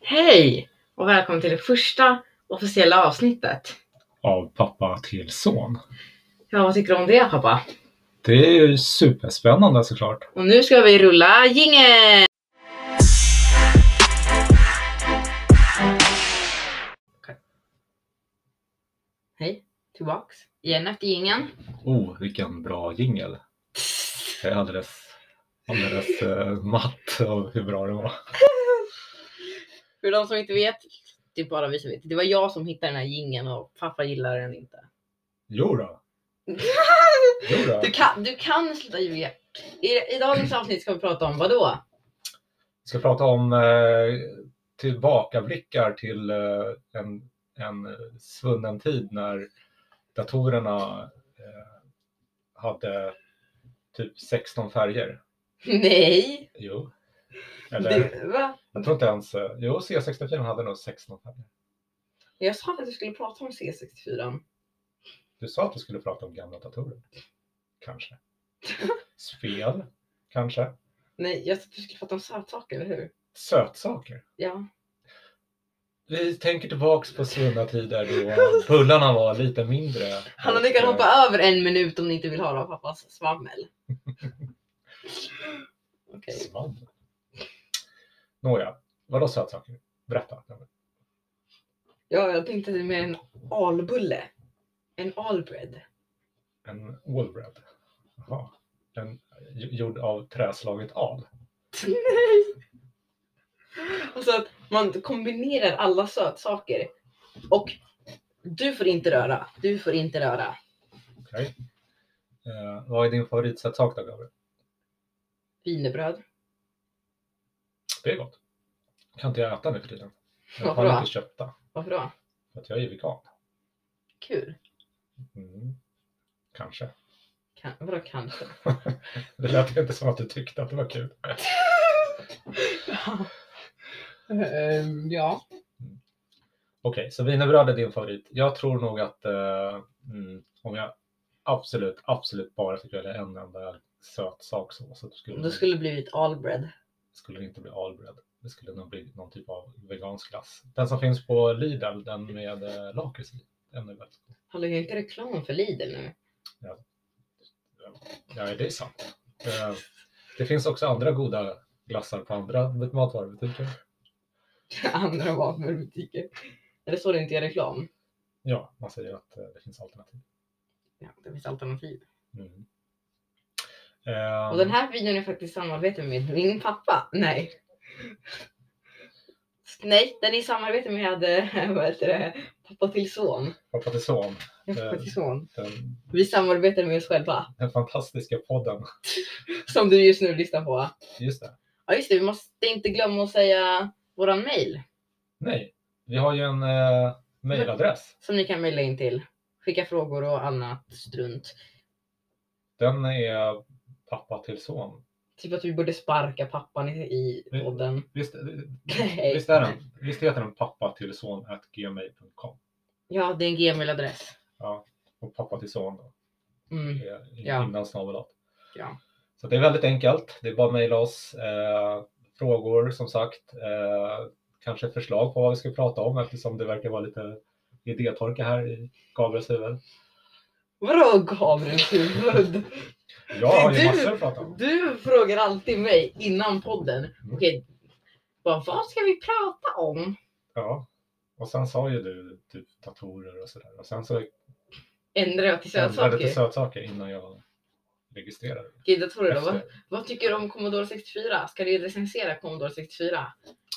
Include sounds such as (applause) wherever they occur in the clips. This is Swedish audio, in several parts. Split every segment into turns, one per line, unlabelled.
Hej och välkommen till det första officiella avsnittet.
av pappa till son.
Ja, vad tycker du om det pappa?
Det är ju superspännande såklart.
Och nu ska vi rulla jingeln! Okej. Hej, tillbaks igen efter jingeln.
Oh, vilken bra jingel. Jag är alldeles, alldeles eh, matt av hur bra det var.
För de som inte vet, det är bara vi som vet. Det var jag som hittade den här jingeln och pappa gillar den inte.
Jo då. Jo då.
Du kan, du kan sluta ljuga. I, I dagens avsnitt ska vi prata om vad då?
Vi ska prata om eh, tillbakablickar till eh, en, en svunnen tid när datorerna eh, hade typ 16 färger.
Nej!
Jo. Eller,
Du, va?
jag tror inte ens, eh, jo C64 hade nog 16 färger.
Jag sa att du skulle prata om C64.
Du sa att vi skulle prata om gamla datorer. Kanske. Spel, kanske.
Nej, jag sa att du skulle prata om sötsaker, eller hur?
Sötsaker.
Ja.
Vi tänker tillbaks på svunna tider då bullarna var lite mindre. Eh,
Hanna, ni kan
Och,
hoppa över en minut om ni inte vill höra pappas svammel.
eh,
(laughs) Okej.
Svammel. Nåja, vadå sötsaker? Berätta.
Ja, jag tänkte med en albulle. En albread.
En wallbread. Jaha. En, eh, gjord av träslaget al.
Nej! (laughs) Alltså att man kombinerar alla sötsaker. Och du får inte röra. Du får inte röra.
Okej. Eh, vad är din favoritsötsak då, Gabriel?
Wienerbröd.
Det är gott. Kan inte jag äta nu för tiden. Jag
Varför
har
då?
inte köpta.
Varför då?
För att jag är vegan.
Kul.
Mm. Kanske. (laughs)
Kan, vadå kanske?
det lät inte som att du tyckte att det var kul.
ja. Ehm, ja.
Okej, så wienerbröd är din favorit. Jag tror nog att eh, mm, om jag absolut, absolut bara fick välja en enda söt sak så, så skulle,
Då skulle det blivit allbread.
skulle det inte bli allbread. Det skulle nog bli någon typ av vegansk glass. Den som finns på Lidl, den med eh, lakrits i. Den är väldigt god.
Hallå, jag är inte reklam för Lidl nu. (laughs)
Ja, det är sant. Eh, det finns också andra goda glassar på andra matvarubutiker.
Andra vapenbutiker. Eller så det inte är reklam.
Ja, man säger att eh, det finns alternativ.
Ja, det finns alternativ.
Mm. Ehm,
Och den här videon är faktiskt i samarbete med min pappa. Nej. Nej, den är i samarbete med (laughs) eh, vad heter det? pappa till son.
Pappa till son.
Ja, Pappa till son.
Den,
Vi samarbetar med oss själva.
den fantastiska podden.
Som du just nu lyssnar på.
Just det.
Ja just det, vi måste inte glömma att säga våran mail.
Nej, vi har ju en eh, mejladress.
Som ni kan mejla in till. Skicka frågor och annat strunt.
Den är pappa till son.
Typ att vi borde sparka pappan i- i
Mm.
podden.
Visst,
(laughs) Nej.
visst, är den, visst heter den pappa till son at gmail.com?
Ja, det är en gmail-adress.
Och pappa till son då,
Mm.
är
Ja.
innan snabelat.
Ja.
Så det är väldigt enkelt. Det är bara att mejla oss. Eh, frågor som sagt. Eh, kanske förslag på vad vi ska prata om eftersom det verkar vara lite idétorka här i Gabriels huvud.
Vadå Gabriels huvud?
Jag har
Det
ju
är
massor att prata om. Mm.
Du frågar alltid mig innan podden. Okej, vad, vad ska vi prata om?
Ja. Och sen sa ju du typ datorer och sådär. Och sen så
Ändrar jag till
ändrade
sötsaker?
lite sötsaker innan jag registrerade.
Okej, datorer då. Vad,
Efter.
vad tycker du om Commodore 64? Ska du recensera Commodore 64?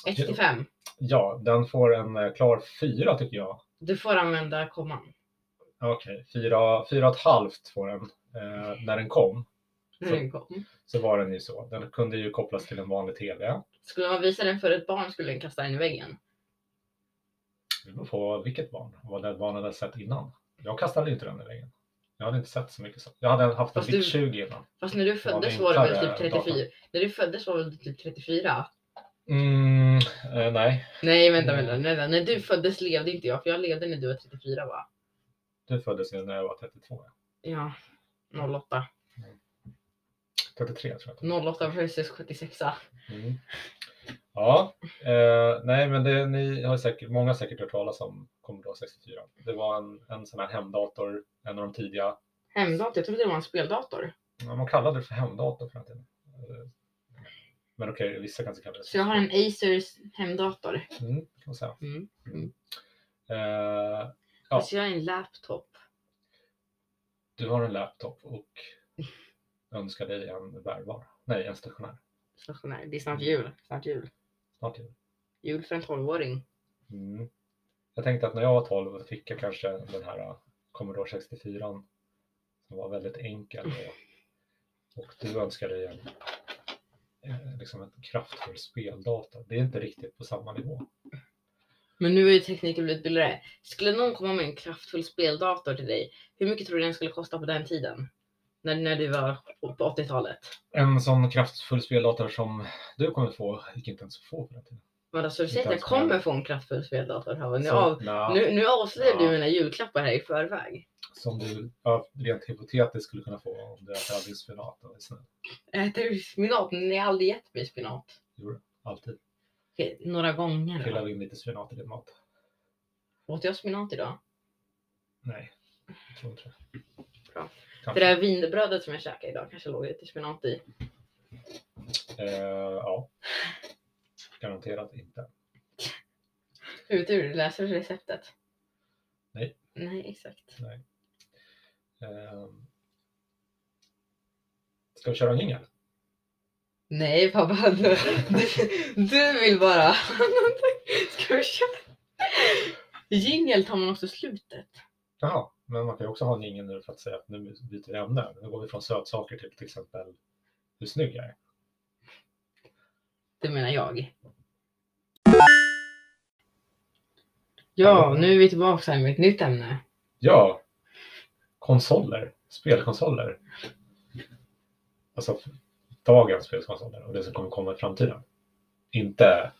1 till 5.
Ja, den får en eh, klar fyra tycker jag.
Du får använda komman.
Okej, fyra, fyra och ett halvt får den. Eh, när den kom
när
Så-
den kom.
så var den ju så. Den kunde ju kopplas till en vanlig TV.
Skulle man visa den för ett barn skulle den kasta den i väggen.
Det beror på vilket barn och vad det barnet hade sett innan. Jag kastade ju inte den i vägen. Jag hade inte sett så mycket. Så. Jag hade haft en
Fast du-
Vic 20 innan.
Fast när du
Det var
föddes var det väl typ
enklare dator.
34? När du föddes var väl typ 34?
Mm, eh, nej,
Nej vänta,
Mm.
vänta, vänta. När du föddes levde inte jag för jag levde när du var 34 va?
du föddes ju när jag var 32.
Ja. 08.
33 tror jag.
08 versus 76.
Mm. Ja, eh, nej, men det, ni har säkert, många har säkert hört talas om Commodore 64. Det var en, en sån här hemdator, en av de tidiga.
Hemdator? Jag trodde det var en speldator.
ja, Man kallade det för hemdator för den tiden. Eh, Men okej, vissa kanske kallar det
Så jag har en Acers hemdator.
Mm, kan man säga.
Mm.
Eh, Ja.
Fast jag har en laptop.
du har en laptop och önskar dig en bärbar. Nej, en stationär.
Stationär. Det är snart jul. Snart jul.
Snart jul.
Jul för en tolvåring.
Mm. Jag tänkte att när jag var 12 fick jag kanske den här eh, Commodore 64 som var väldigt enkel. Och, och du önskar dig en, eh, liksom en kraftfull speldator. Det är inte riktigt på samma nivå.
Men nu är ju tekniken blivit billigare. Skulle någon komma med en kraftfull speldator till dig, hur mycket tror du den skulle kosta på den tiden? När, när du var på 80-talet?
En sån kraftfull speldator som du kommer få gick inte ens att få på den tiden.
Men alltså, du säger att
Inte
jag
ens med.
kommer få en kraftfull speldator. Hava. Nu,
Så,
av,
nja,
nu, nu avslöjar du
Ja.
mina julklappar här i förväg. (laughs)
Som du ja, rent hypotetiskt skulle kunna få om du äter aldrig spenat och är snäll.
Äter du spinat? Ni har aldrig gett mig spinat.
Alltid.
Okej, några gånger.
Killar
då.
vi in lite spenat i din mat?
Åt jag spinat idag?
Nej, jag tror inte det.
Bra. Det
Kanske.
där vinbrödet som jag käkade idag kanske låg lite spinat i.
Eh, ja. Garanterat inte.
Hur tur, läser du receptet?
Nej.
Nej, exakt.
Ehm. Ska vi köra en jingel?
Nej
(laughs)
pappa, du, du, du vill bara... (laughs) Ska vi köra? Jingel tar man också slutet.
Jaha, men man kan ju också ha en jingel nu för att säga att nu byter vi ämne. Nu går vi från sötsaker till till exempel hur snygg jag är.
Det menar jag. Ja, nu är vi tillbaka här med ett nytt ämne.
Ja, konsoler. Spelkonsoler. Alltså dagens spelkonsoler och det som kommer komma i framtiden. Inte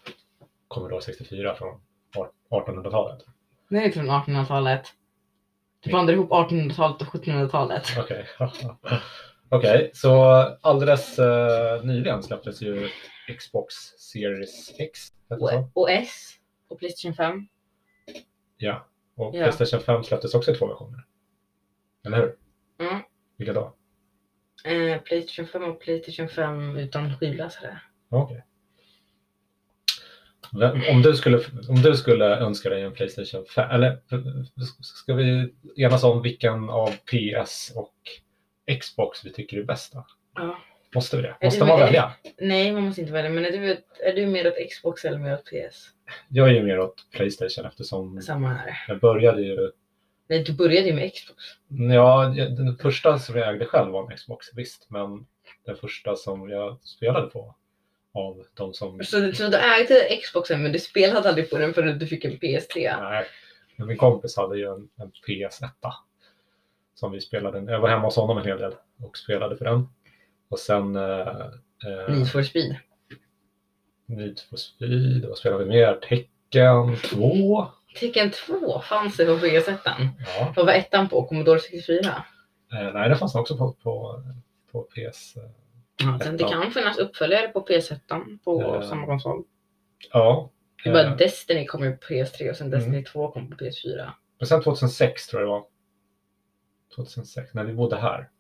Commodore 64 från 1800-talet.
Det är från 1800-talet. Du blandar ihop 1800-talet och 1700-talet.
Okej, (laughs) Okej, så alldeles eh, nyligen släpptes ju Xbox Series X. heter det så?
Och, och S på Playstation 5.
Ja, och
Ja.
Playstation 5 släpptes också i två versioner. Eller hur?
Mm.
Vilka då?
Eh, Playstation 5 och Playstation 5 utan skivläsare.
Okej. Vem- Om, du skulle, om du skulle önska dig en Playstation 5, eller ska vi enas om vilken av PS och Xbox vi tycker är bäst då?
Ja.
Måste vi det?
det
Måste man
väl-
välja?
Nej, man måste inte välja. Men är du, ett- är du mer åt Xbox eller mer åt PS?
Jag är ju mer åt Playstation eftersom
Samma här.
jag började ju
Nej, du började ju med Xbox.
Ja, jag- den första som jag ägde själv var en Xbox, visst. Men den första som jag spelade på av de som...
Så, du- så du ägde Xboxen men du spelade aldrig på den förrän du fick en PS3.
Nej, men min kompis hade ju en, en PS1. Som vi spelade. Jag var hemma hos honom en hel del och spelade för den. Och sen... Eh, eh,
Need for speed.
Need for speed. Vad spelade vi mer? Tecken 2.
Tekken 2 fanns det på PS1.
Ja.
Vad var ettan på? Commodore 64?
Eh, nej, det fanns också på, på, på PS. eh,
Ja, sen det
Ettan.
kan finnas uppföljare på PS1 på
Eh,
samma konsol.
Ja.
Det är bara
Eh,
Destiny kom ju på PS3 och sen
Mm.
Destiny 2 kom på PS4.
Men sen 2006 tror jag det var. 2006, när vi bodde här.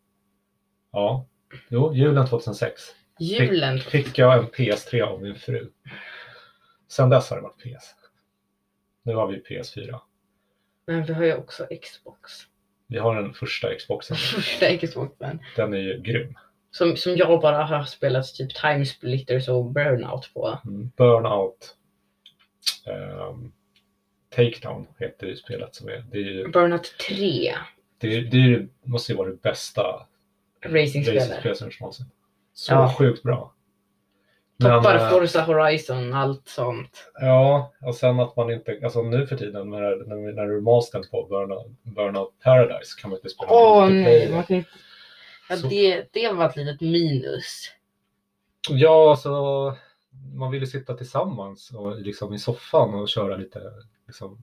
Ja, jo, julen 2006
Julen.
fick jag en PS3 av min fru. Sen dess har det varit PS. Nu har vi PS4.
Men vi har ju också Xbox. (laughs)
Vi har den första Xboxen.
Första Xboxen.
Den är ju grym.
Som, som jag bara har spelat typ Time Splitters och Burnout på.
Mm. Burnout. Um, Takedown heter ju spelet som är. Det, är ju,
Burnout 3.
det, är- det är, ju- måste ju vara det bästa
Racingspelet.
racingspelet som gjorts någonsin. Så
Ja.
sjukt bra.
Toppar
eh,
Forza Horizon, allt sånt.
Ja, och sen att man inte, alltså nu för tiden när, när, när remastern på Burnout, Burnout Paradise kan man inte spela
Åh
multiplayer.
nej, man kan inte... Ja,
Så-
det, det var ett litet minus.
Ja, så man vill ju sitta tillsammans och liksom i soffan och köra lite liksom,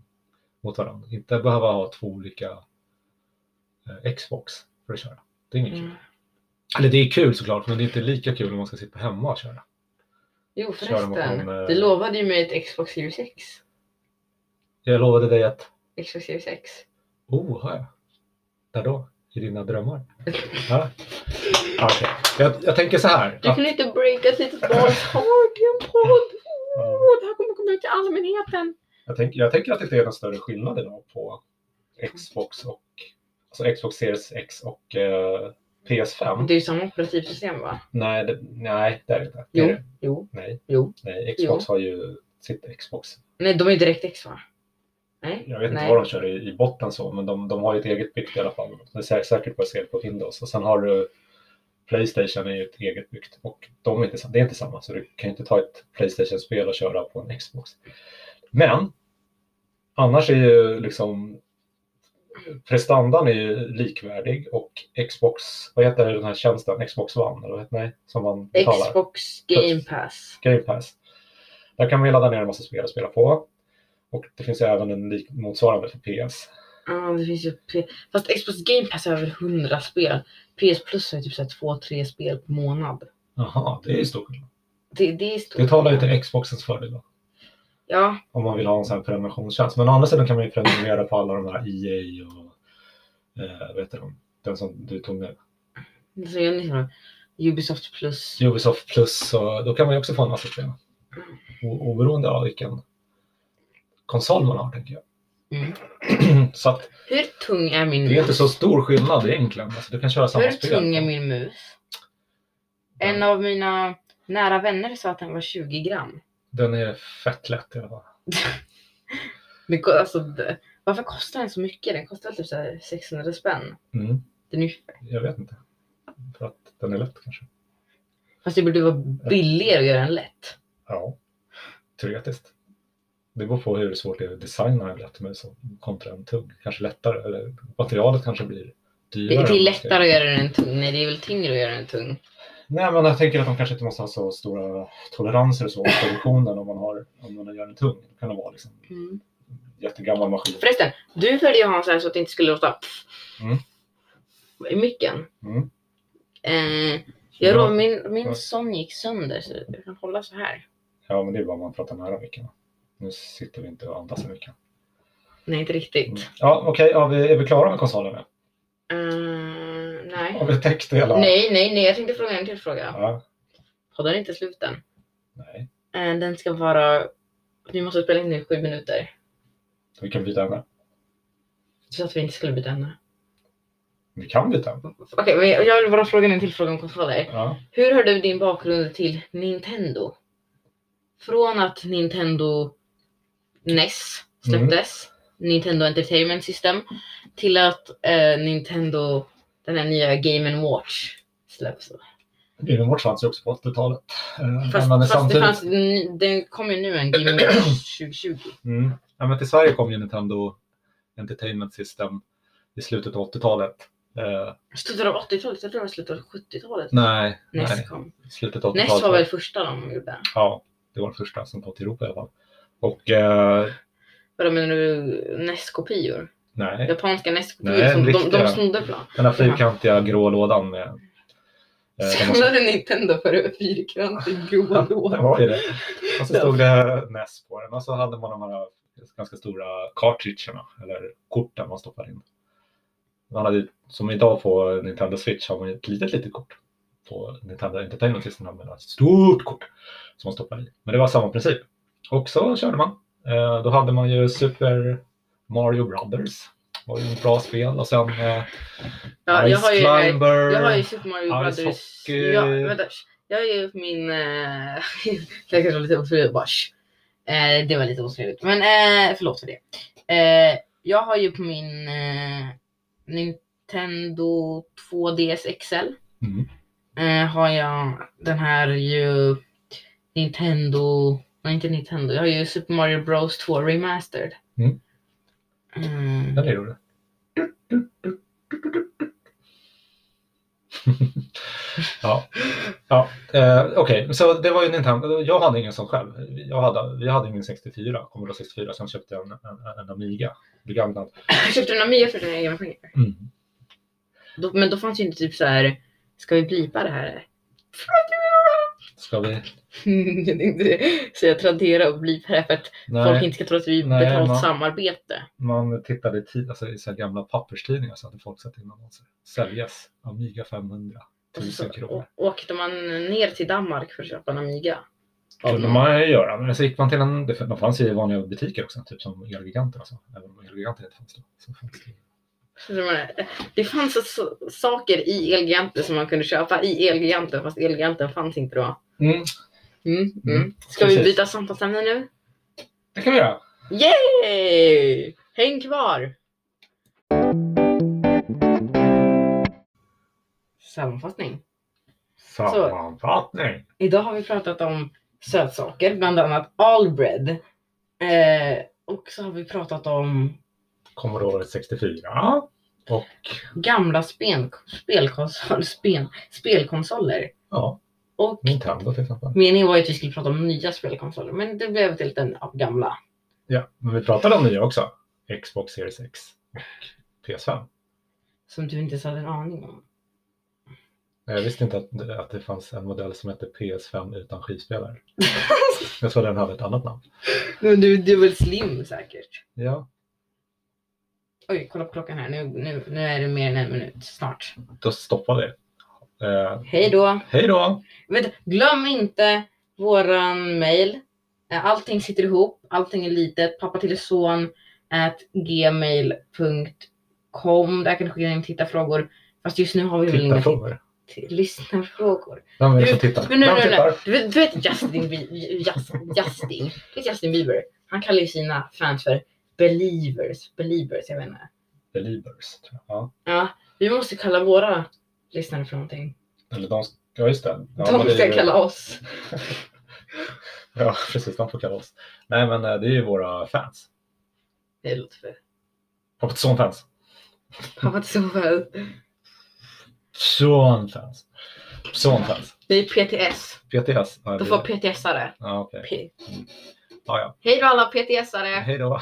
mot varandra. Inte behöva ha två olika eh, Xbox för att köra. Det är inget kul.
Mm.
Eller det är kul såklart, men det är inte lika kul om man ska sitta hemma och köra.
Jo
Kör mot
förresten,
någon, eh,
du lovade ju mig ett Xbox Series X.
Jag lovade dig att,
Xbox Series X.
oh, har jag? När då? I dina drömmar? Ja. Ja, okej. jag, jag tänker så här.
Du
Att,
kan inte breaka ett litet barns heart i en podd.
ja,
Åh, det här kommer komma ut till allmänheten.
jag, tänker, jag tänker att det inte är någon större skillnad idag på Xbox och alltså Xbox Series X och eh, PS5.
Det är ju samma operativsystem va?
Nej, det, nej, det är det inte. Det
Jo.
är det.
Jo.
Nej.
Jo.
nej, Xbox har ju sitt Xbox
Nej, de är ju direkt X va? Nej.
Jag vet inte
Nej.
vad de kör i, i botten så, men de, de har ju ett eget byggt i alla fall. Det är sä- säkert baserat på Windows. Och sen har du Playstation är ju ett eget byggt och de är inte, sam- det är inte samma. Så du kan ju inte ta ett Playstation-spel och köra på en Xbox. Men annars är ju liksom prestandan är ju likvärdig och Xbox, vad heter den här tjänsten, Xbox One? Eller, vad- nej, som man betalar.
Xbox Game Pass.
Game Pass. Där kan man ju ladda ner en massa spel och spela på. Och det finns ju även en lik- motsvarande för PS.
Ja, det finns ju P- Fast Xbox Game Pass har över 100 spel. PS Plus har ju typ såhär 2-3 spel per månad.
Jaha, det är ju stor skillnad.
Det, det är stort.
Det talar ju till Xboxens fördel då,
Ja,
om man vill ha en sån här prenumerationstjänst. Men å andra sidan kan man ju prenumerera på alla de här EA och eh, vet du, den som du tog nu.
så gör ni så här. Ubisoft Plus.
Ubisoft Plus, och då kan man ju också få en massa spel. O- oberoende av vilken konsol man har, tänker jag.
Mm.
(clears throat) Så att
Hur tung är min
det är inte
mus?
så stor skillnad egentligen. Alltså, du kan köra samma
Hur
spel.
tung är min mus? En av mina nära vänner sa att den var 20 gram.
Den är fett lätt i alla fall.
Men ko- alltså, d- varför kostar den så mycket? Den kostar väl typ så här 600 spänn.
Mm,
Den är, ju-
jag vet inte. För att den är lätt kanske.
fast det borde vara billigare att göra den lätt.
Ja, teoretiskt. Det beror på hur svårt det är att designa en lätt mus kontra en tugg. Kanske lättare, eller materialet kanske blir
Det,
dyrare.
det
om
är
man ska-
lättare att göra den tung. Nej, det är väl tyngre att göra den tung.
Nej, men jag tänker att de kanske inte måste ha så stora toleranser och så i produktionen om man, har, om man gör en tung. Då kan det vara liksom jättegammal maskin.
Förresten, du ville ju ha en sån här så att det inte skulle låta pff,
Mm.
i micken.
Mm.
Eh, jag
Ja.
ja. min, min
Ja.
sån gick sönder så jag kan hålla så här.
Ja, men det är bara om man pratar nära micken. Nu sitter vi inte och andas i micken.
Nej, inte riktigt.
Mm. Ja, okej, ja, vi, är vi klara med konsolen nu? Mm.
Eh, nej.
Har vi täckt hela?
Nej, nej, nej. Jag tänkte fråga en till fråga.
Ja,
Podden är inte slut än.
nej.
Eh, Den ska vara... Vi måste spela in den i sju minuter.
Vi kan byta ämne.
Så att vi inte skulle byta ämne.
Vi kan byta ämne.
Okej, men jag- jag vill bara fråga en till fråga om konsoler.
Ja.
Hur har du din bakgrund till Nintendo? Från att Nintendo NES släpptes,
Mm.
Nintendo Entertainment System, till att eh, Nintendo, den här nya Game Watch släpps.
Gyllenvård fanns ju också på 80-talet. Eh,
Fast,
men
fast
samtidigt...
det fanns, n- det kom ju nu en Game
(clears throat)
Watch 2020.
Mm. Ja, men till Sverige kom ju Nintendo Entertainment System i slutet av 80-talet. Eh,
Slutet av 80-talet? Jag tror det var slutet av 70-talet.
nej,
NES
nej,
kom.
slutet av 80-talet.
Ness var väl första de gjorde?
Ja, det var den första som kom till Europa i alla fall. Och eh,
Vadå menar du? Ness-kopior?
nej,
Japanska Ness-kopior?
Nej,
som De,
riktiga.
de snodde plan.
den här fyrkantiga grå lådan med... Eh, de
Samlade Nintendo för fyrkantig grå
Det
låda?
var ju det. Och så stod det NES på den och så hade man de här ganska stora cartridgerna eller korten man stoppar in. Man hade, ju- som idag på Nintendo Switch har man ju ett litet, litet kort. På Nintendo Entertainment System hade man ett stort kort som man stoppar i. Men det var samma princip. Och så körde man. Eh, då hade man ju Super Mario Brothers. Det var ju ett bra spel och sen eh,
Ja, jag
Ice
har ju,
Climber.
jag har ju Super Mario
Ice
Brothers.
Hockey.
Ja, vänta. sh- Jag är ju min... Eh, (laughs) det kanske var lite ofrivilligt bara sh. eh, Det var lite osmidigt. Men eh, förlåt för det. Eh, jag har ju på min eh, Nintendo 2DS XL.
mm,
eh, har jag den här ju Nintendo, nej inte Nintendo, jag har ju Super Mario Bros 2 Remastered.
Mm.
Mm.
den är rolig. (laughs) Ja, ja. Eh, okej, så det var ju Nintendo. Jag hade ingen sån själv. Jag hade, vi hade min 64, Commodore 64, sen köpte jag en, en, en Amiga, begagnad.
(laughs) Jag köpte en Amiga för dina egna pengar.
Mm.
Då, men då fanns ju inte typ så här. ska vi blipa det här?
Ska vi?
(laughs) Jag tänkte säga Tradera och bli här för att folk
Nej,
inte ska tro att vi
Nej,
betalt
man-
samarbete.
man tittade i, tid, alltså, i så här gamla papperstidningar så hade folk satt in annonser. Säljes Amiga 500
Och så,
1000
så
kronor.
åkte man ner till Danmark för att köpa en Amiga.
Kunde man ju göra, men så gick man till en, det f- de fanns ju i vanliga butiker också, typ som Elgiganten och så. Även om Elgiganten inte fanns då. Så fanns det.
Så det var- Det fanns alltså saker i Elgiganten som man kunde köpa i Elgiganten fast Elgiganten fanns inte då.
Mm,
Mm, mm. Ska vi
precis.
byta samtalsämne nu?
det kan vi göra.
Yay! Häng kvar! Sammanfattning.
Sammanfattning.
Idag har vi pratat om sötsaker, bland annat all bread. Eh, och så har vi pratat om
Commodore 64 och
gamla spen, spelkonsol, spen, spelkonsoler.
ja,
Och
Nintendo till exempel.
meningen var ju att vi skulle prata om nya spelkonsoler, men det blev till den av gamla.
Ja, men vi pratade om nya också. Xbox Series X och PS5.
Som du inte ens hade en aning om.
Jag visste inte att, att det fanns en modell som hette PS5 utan skivspelare. (laughs) Jag tror den hade ett annat namn.
Men du, du är väl slim säkert?
Ja,
Oj, kolla på klockan här. Nu, nu, nu är det mer än en minut snart.
då stoppar vi. Eh,
Hej då!
hej då!
Vet, glöm inte våran mail. Eh, Allting sitter ihop, allting är litet. Pappa till son at gmail.com. Där kan du skicka in tittarfrågor. Fast just nu har vi väl inga titt-
Tittarfrågor.
lyssnarfrågor.
Vem är det som
Nu-
tittar?
nu- nu-
Vem
nu-
tittar?
Du vet, du vet Justin, Bi- Just- Justin, det är Justin Bieber. Han kallar ju sina fans för believers. Believers, jag vet inte.
Beliebers, tror jag. Ja.
Ja, vi måste kalla våra lyssnare för någonting.
Eller de ska, ja just det. Ja, men
De
det är
ska
ju-
kalla oss.
Ja, (laughs) precis. De får kalla oss. Nej, men eh, det är ju våra fans.
Det låter för...
Pappa till son-fans.
Han var inte så väl.
Son-fans. Son-fans.
Det är PTS.
PTS. Ja,
Då
det-
får PTSare.
Ja, okej.
P-
Ja, ja.
Hej då alla PTSare!
Hej då.